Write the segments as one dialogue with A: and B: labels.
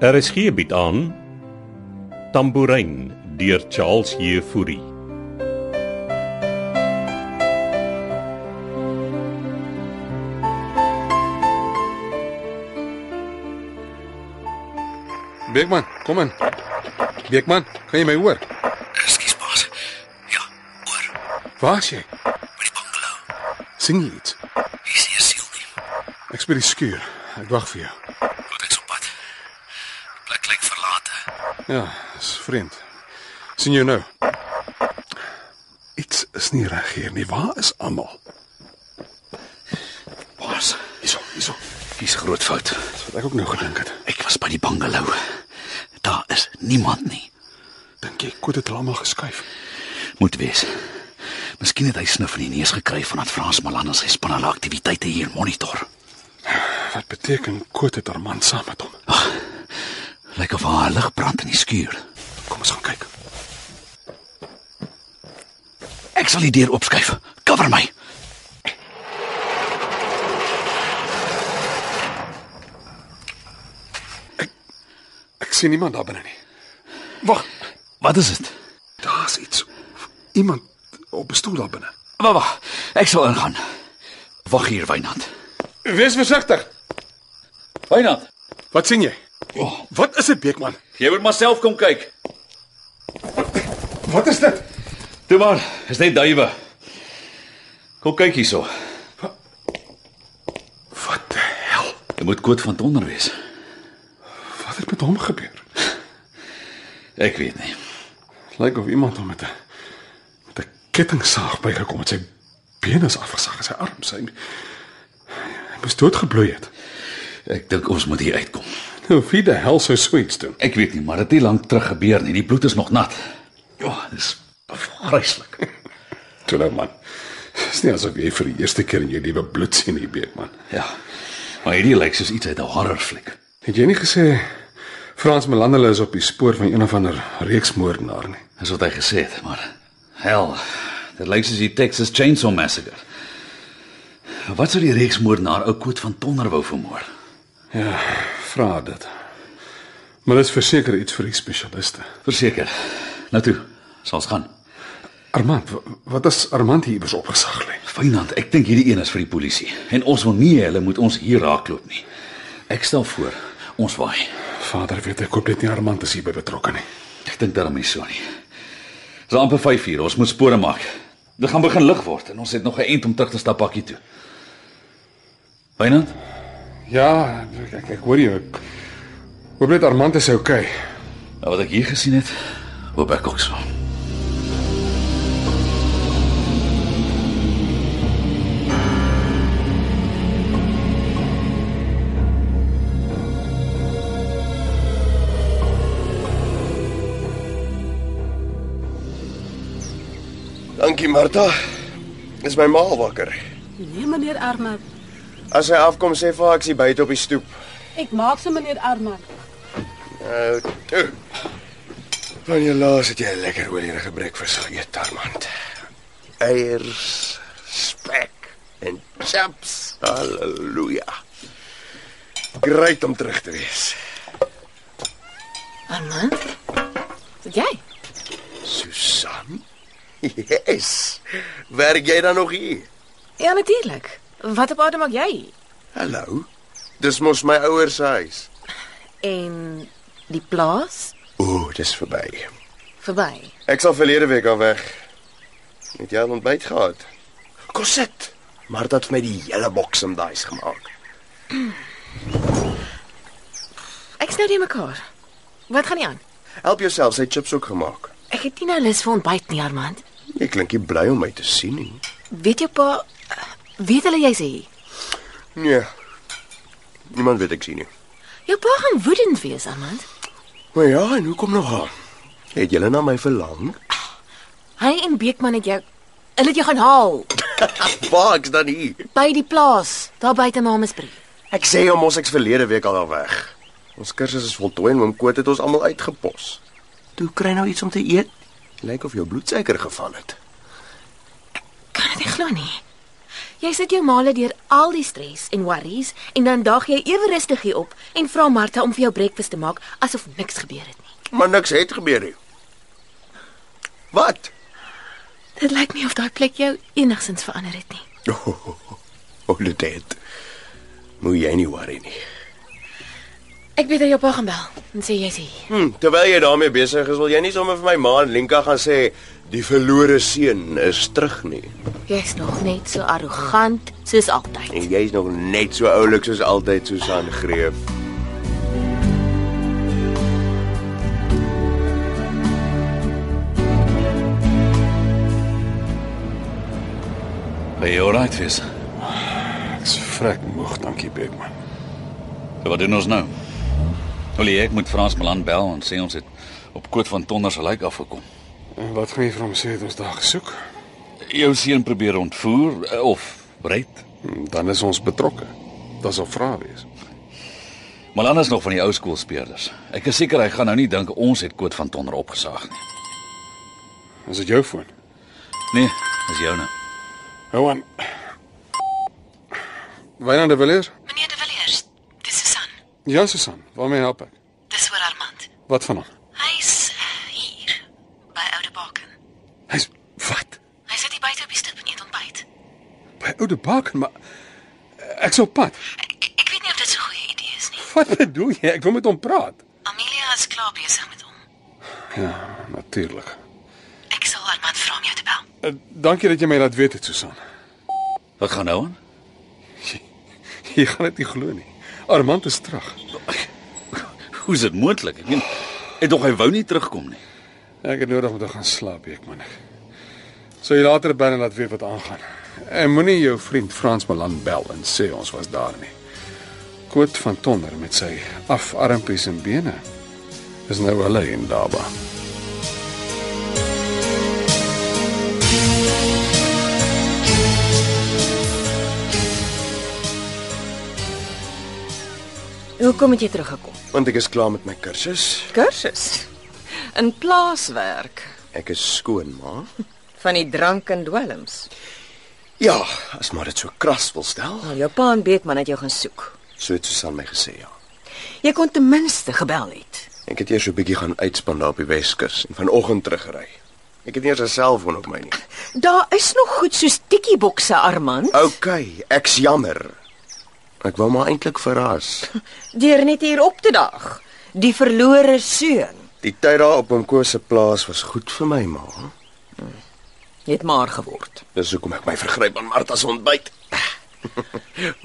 A: RSG bied Er aan Tambourin deur Charles Jefouri.
B: Beekman, kom in. Beekman, kan jy my hoor?
C: Ekskuus baas. Ja, oor
B: Waar's jy?
C: by die bungalow.
B: Sing jy iets?
C: Hier is nie 'n siel nie.
B: Ek's by die skuur. Ek wag vir jou.
C: Goed ek's op pad. Die Plek klink verlate.
B: Ja, is vreemd. sien jou nou. Iets is nie reg hier nie. Waar is almal?
C: Baas,
B: Hierso, hierso.
C: hier's groot fout.
B: Dis wat ek ook nou gedink het.
C: Ek was by die bungalow. Daar is niemand nie.
B: Dink jy Koet het hulle almal geskuif?
C: Moet wees. Miskien het hy snif in die neus gekry vandat Frans Malan en sy span hulle aktiwiteite hier monitor.
B: Wat beteken Koet het haar man saam met hom?
C: Lyk of haar lig brand in die skuur.
B: Kom ons gaan kyk.
C: Ek sal die deur oopskuif. Cover my.
B: Ek sien niemand daar binne nie. Wag,
C: Wat is dit?
B: daar's iets. Iemand op 'n stoel daar binne.
C: Wag, wag. Ek sal ingaan. Wag hier, Wynand.
B: Wees versigtig.
D: Wynand,
B: Wat sien jy?
C: Oh.
B: Wat is dit, Beekman?
D: jy moet maar self kom kyk.
B: Wat is dit?
D: Toe maar, is net duwe. Kom kyk hierso.
B: Wat die hel?
D: Dit moet koot van donder wees.
B: Wat het met hom gebeur?
D: Ek weet nie.
B: Lyk of iemand hom met 'n met 'n kettingsaag bygekom het. Sy bene is afgesag en sy arm sy hy moes doodgebloei het.
D: Ek dink ons moet hier uitkom.
B: Nou wie die hel sou so iets doen?
D: Ek weet nie, maar dit het nie lank terug gebeur nie. Die bloed is nog nat. Ja, dis gryslik.
B: Toe nou man. Dis nie asof jy vir die eerste keer in jou lewe bloed sien hier Beekman.
D: Ja. Maar hierdie lyk soos iets uit 'n horrorfliek.
B: Het jy nie gesê Frans Melandele is op die spoor van een of ander reeksmoordenaar nie?
D: Dis wat hy gesê het, maar hel. Dit lyk soos die Texas Chainsaw Massacre. Wat sou die reeksmoordenaar ou koot van Tonder wou vermoor?
B: Ja, vra dit. Maar dit is verseker iets vir die spesialiste.
D: Verseker. Nou toe, sal ons gaan.
B: Armand, wa- wat as Armand hier iewers opgesag lê?
D: Fynand, ek dink hierdie een is vir die polisie en ons wil nie hê hulle moet ons hier raakloop nie. Ek stel voor ons waai.
B: Vader weet ek hoop dit nie Armand is hierby betrokke nie.
D: Ek dink daarom nie so nie. Dis amper 5uur, ons moet spore maak. Dit gaan begin lig word en ons het nog 'n end om terug te stap bakkie toe. Fynand,
B: Ja, ek ek, ek hoor jou. Ek hoop net Armand is okay.
D: nou wat ek hier gesien het, hoop ek ook so.
E: Dankie Martha. Is my ma al wakker?
F: Nee, meneer Armand.
E: As sy afkom sê vir haar ek is hier buite op die stoep.
F: Ek maak se meneer Armand.
E: Nou, toe. Van jou laas het jy 'n lekker olierige breakfast geëet, Armand. Eiers, spek en chips. Halleluja. Great om terug te wees.
G: Armand? Wat jy?
E: Susan? Yes. Werk jy dan nog hier?
G: Ja natuurlik. Wat op aarde maak jy?
E: Hallo. Dis mos my ouers se huis.
G: En die plaas
E: Ooh, dis verby.
G: verby.
E: Ek sal verlede week al weg. Het jy al ontbyt gehad? Kom sit. Maar dit het vir my die hele boks om daai's gemaak.
G: Ek snou die mekaar. Wat gaan nie aan?
E: Help jouself, sy chips ook gemaak.
G: Ek het nie nou lus vir ontbyt nie, Armand.
E: Jy klink nie bly om my te sien nie.
G: Weet jou pa eh, weet hulle jy's hier?
E: Nee. Niemand weet ek sien nie.
G: Jou pa gaan woedend wees, Armand.
E: Maar ja, en hoekom nogal? Het julle na my verlang?
G: Hy en Beekman het jou hulle het jou gaan haal
E: Waar ek's dan hier?
G: by die plaas daar buite Mamesbury.
E: Ek sê hom ons ek's verlede week al al weg. Ons kursus is voltooi en oom Koot het ons almal uitgepos. Toe kry nou iets om te eet. Lyk of jou bloedsuiker geval het.
G: Kan dit nie glo nie. Jy sit jou male deur al die stres en worries en dan daag jy ewe rustig hier op en vra Martha om vir jou breakfast te maak asof niks gebeur het nie.
E: Maar niks het gebeur nie. Wat?
G: Dit lyk nie of daai plek jou enigsins verander het nie.
E: Oh, oh, oh, oh, dit het. Moet jy nie worry nie.
G: Ek weet dat jou pa gaan bel en sê jy's hier.
E: Hm, terwyl jy daarmee besig is, wil jy nie sommer vir my ma en Lenka gaan sê die verlore seun is terug nie.
G: Jy's nog net so arrogant soos altyd.
E: En jy's nog net so oulik soos altyd, Susan Greef.
D: Ben jy alright, Wes?
B: Ek's vrek moeg, dankie Beekman.
D: Wat doen ons nou? Olie, ek moet Frans Malan bel en sê ons het op Koot van Tonder se lijk afgekom.
B: En wat gaan jy vir hom sê het ons daar gesoek?
D: Jou seun probeer ontvoer eh, of red.
B: Hm, Dan is ons betrokke. Dit sal vra wees.
D: Malan is nog van die ou skool speerders. Ek is seker hy gaan nou nie dink ons het Koot van Tonder opgesaag nie.
B: Is dit jou foon?
D: Nee, dis joune.
B: Hou aan. Wynand de Villiers?
G: Meneer De Villiers, dis Susan.
B: Ja, Susan, waarmee help ek?
G: Dis oor Armand.
B: Wat van hom?
G: Hy's hier by Oude Baken.
B: Hy's wat?
G: Hy sit hier buite op die stoep en eet ontbyt.
B: By oude baken, maar ek's op pad.
G: Ek, ek weet nie of dit so 'n goeie idee is nie.
B: Wat bedoel jy? Ek wil met hom praat.
G: Amelia is klaar besig met hom.
B: Ja, natuurlik.
G: Ek sal Armand vra om jou te bel.
B: Uh, dankie dat jy my laat weet het, Susan.
D: Wat gaan nou aan?
B: Jy, jy gaan dit nie glo nie. Armand is terug.
D: Hoe is dit moontlik? Ek meen, het tog hy wou nie terugkom nie.
B: Ek het nodig om te gaan slaap, ek man ek. So jy later bel en laat weet wat aangaan. En moenie jou vriend Frans Malan bel en sê ons was daar nie. Koot van Tonder met sy afarmpies en bene is nou alleen daarba.
H: Hoekom het jy teruggekom?
E: Want ek is klaar met my kursus.
H: Kursus. In plaaswerk
E: Ek is skoon, ma.
H: van die drank en dwelms.
E: Ja, as maar dit so kras wil stel.
H: Nou jou pa en Beekman het jou gaan soek.
E: So het Susan my gesê, ja.
H: Jy kon ten minste gebel het.
E: Ek het eers so 'n bietjie gaan uitspan daar op die Weskus en vanoggend teruggery. Ek het nie eens 'n selfoon op my nie.
H: Daar is nog goed soos tikkiebokse Armand.
E: OK, ek's jammer. Ek wou maar eintlik verras.
H: Deur net hier op te daag. Die verlore seun.
E: Die tyd daar op Omkoop se plaas was goed vir my, ma.
H: Jy het maar geword.
E: Dis hoekom ek my vergryp aan Martha se ontbyt.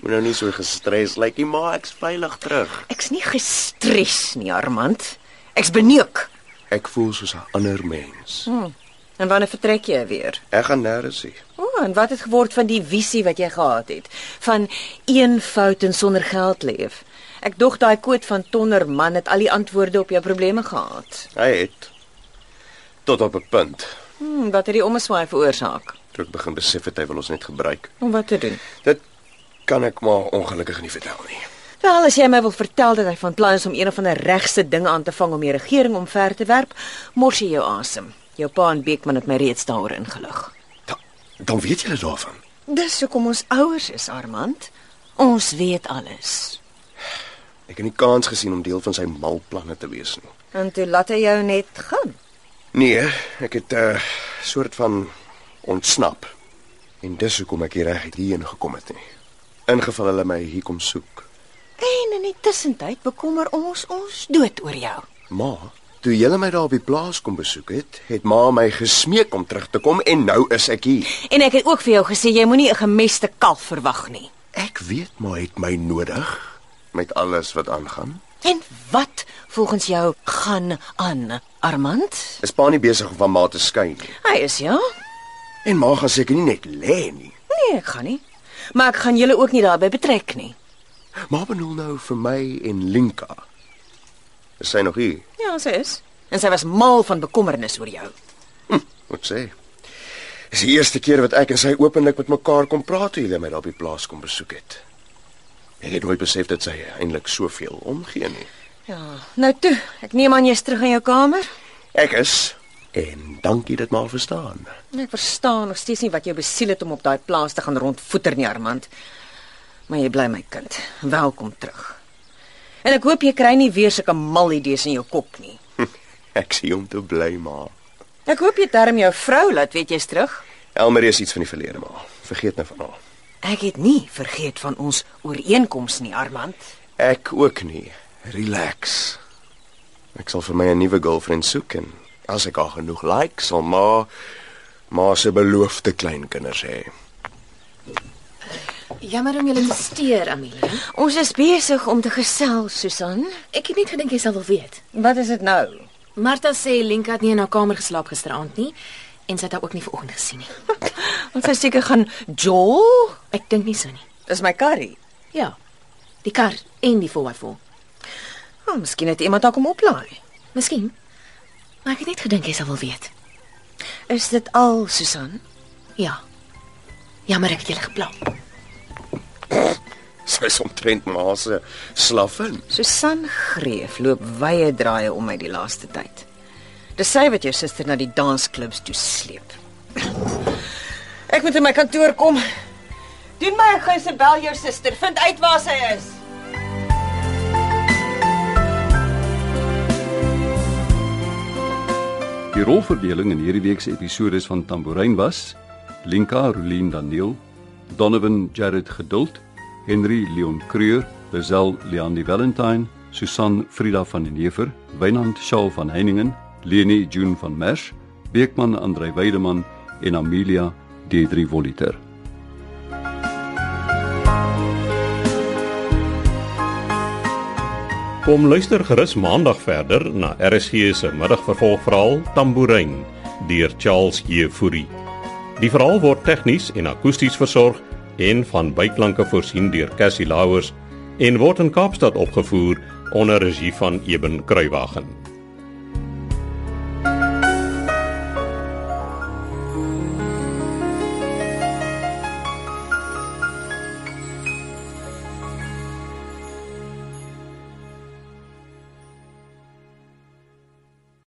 E: Moet nou nie so gestres lyk nie, ma, ek's veilig terug.
H: Ek's nie gestres nie, Armand. Ek's beneuk.
E: Ek voel soos 'n ander mens.
H: En wanneer vertrek jy weer?
E: Ek gaan nêrens heen.
H: O, oh, en wat het geword van die visie wat jy gehad het van een fout en sonder geld leef? Ek dog daai koot van Tonnerman het al die antwoorde op jou probleme gehad.
E: Hy het tot op 'n punt
H: Hm, wat het die ommeswaai veroorsaak?
E: toe ek begin besef het hy wil ons net gebruik.
H: Om wat te doen?
E: Dit kan ek maar ongelukkig nie vertel nie.
H: Wel, as jy my wil vertel dat hy van plan is om een of ander regse ding aan te vang om die regering omver te werp, mors jy jou asem. Jou pa en Beekman het my reeds daaroor ingelig.
E: Da, dan weet julle daarvan.
H: Dis hoekom ons ouers is, Armand. Ons weet alles.
E: Ek het nie kans gesien om deel van sy mal planne te wees nie.
H: En toe laat hy jou net gaan.
E: Nee, ek het 'n uh, soort van ontsnap. En dis hoekom ek hier reg hierheen gekom het nie. Ingeval hulle my hier kom soek.
H: En in die tussentyd bekommer ons ons dood oor jou.
E: Ma, toe julle my daar op die plaas kom besoek het, het ma my gesmeek om terug te kom en nou is ek hier.
H: En ek het ook vir jou gesê jy moenie 'n gemeste kalf verwag nie.
E: Ek weet maar het my nodig met alles wat aangaan.
H: En wat volgens jou gaan aan, Armand?
E: Is pa nie besig om van ma te skei nie.
H: Hy is ja.
E: En ma gaan seker nie net lê nie.
H: Nee, ek gaan nie. Maar ek gaan julle ook nie daarbey betrek nie.
E: Ma bedoel nou vir my en Linka. Is sy nog hier?
H: Ja, sy is. En sy was mal van bekommernis oor jou.
E: Moet sê. Dis die eerste keer wat ek en sy openlik met mekaar kom praat toe julle my daar op die plaas kom besoek het. Ek het nooit besef dat sy eintlik soveel omgee nie.
H: Ja, nou toe, ek neem aan jy's terug in jou kamer.
E: Ek is En dankie dat maar verstaan.
H: Nee, Ek verstaan nog steeds nie wat jou besiel het om op daai plaas te gaan rondvoeter nie, Armand. Maar jy bly my kind. Welkom terug. En ek hoop jy kry nie weer sulke mal idees in jou kop nie.
E: Ek sien om te bly maar.
H: Ek hoop jy term jou vrou laat weet jy's terug.
E: Elmarie is iets van die verlede maar. Vergeet nou van haar.
H: Ek het nie vergeet van ons ooreenkoms nie, Armand.
E: Ek ook nie. Relax. Ek sal vir my 'n nuwe girlfriend soek en as ek haar genoeg like, sal ma ma se beloofde kleinkinders hê.
G: Jammer om julle te steur, Amelia.
H: Ons is besig om te gesels, Susan.
G: Ek het net gedink jy sal wel weet.
H: Wat is dit nou?
G: Martha sê Lenka het nie in haar kamer geslaap gisteraand nie en sy het haar ook nie vanoggend gesien nie.
H: Ons is seker gaan Joel.
G: Ek dink nie so nie.
H: Dis my karry.
G: Ja. Die kar en die 4x4.
H: Oh, miskien het iemand haar kom oplaai.
G: Miskien. Maar ek het net gedink jy sal wel weet.
H: Is dit al, Susan?
G: Ja. Jammer ek het julle gepla.
E: Sy is omtrent ma se slavin.
H: Susan Greef loop wye draaie om my die laaste tyd. Dis sy wat jou suster na die dansklubs toe sleep. Ek moet in my kantoor kom. Doen my 'n guise bel jou suster, vind uit waar sy is.
I: Die rolverdeling in hierdie week se episode van Tambourin was: Linka Rulien Daniel, Donovan Jared Geduld, Henry Leon Creur, Lisel Leandi Valentine, Susan Frida van den Heever, Wynand Shaw van Heiningen, Leni June van Merwe, Beekman Andre Weideman en Amelia Deidre Voliter.
A: Kom luister gerus maandag verder na RSG se middagvervolgverhaal Tambourine deur Charles Jefouri. Die verhaal word tegnies en akoesties versorg en van byklanke voorsien deur Cassie Lauers en word in Kaapstad opgevoer onder regie van Eben Kruiwagen.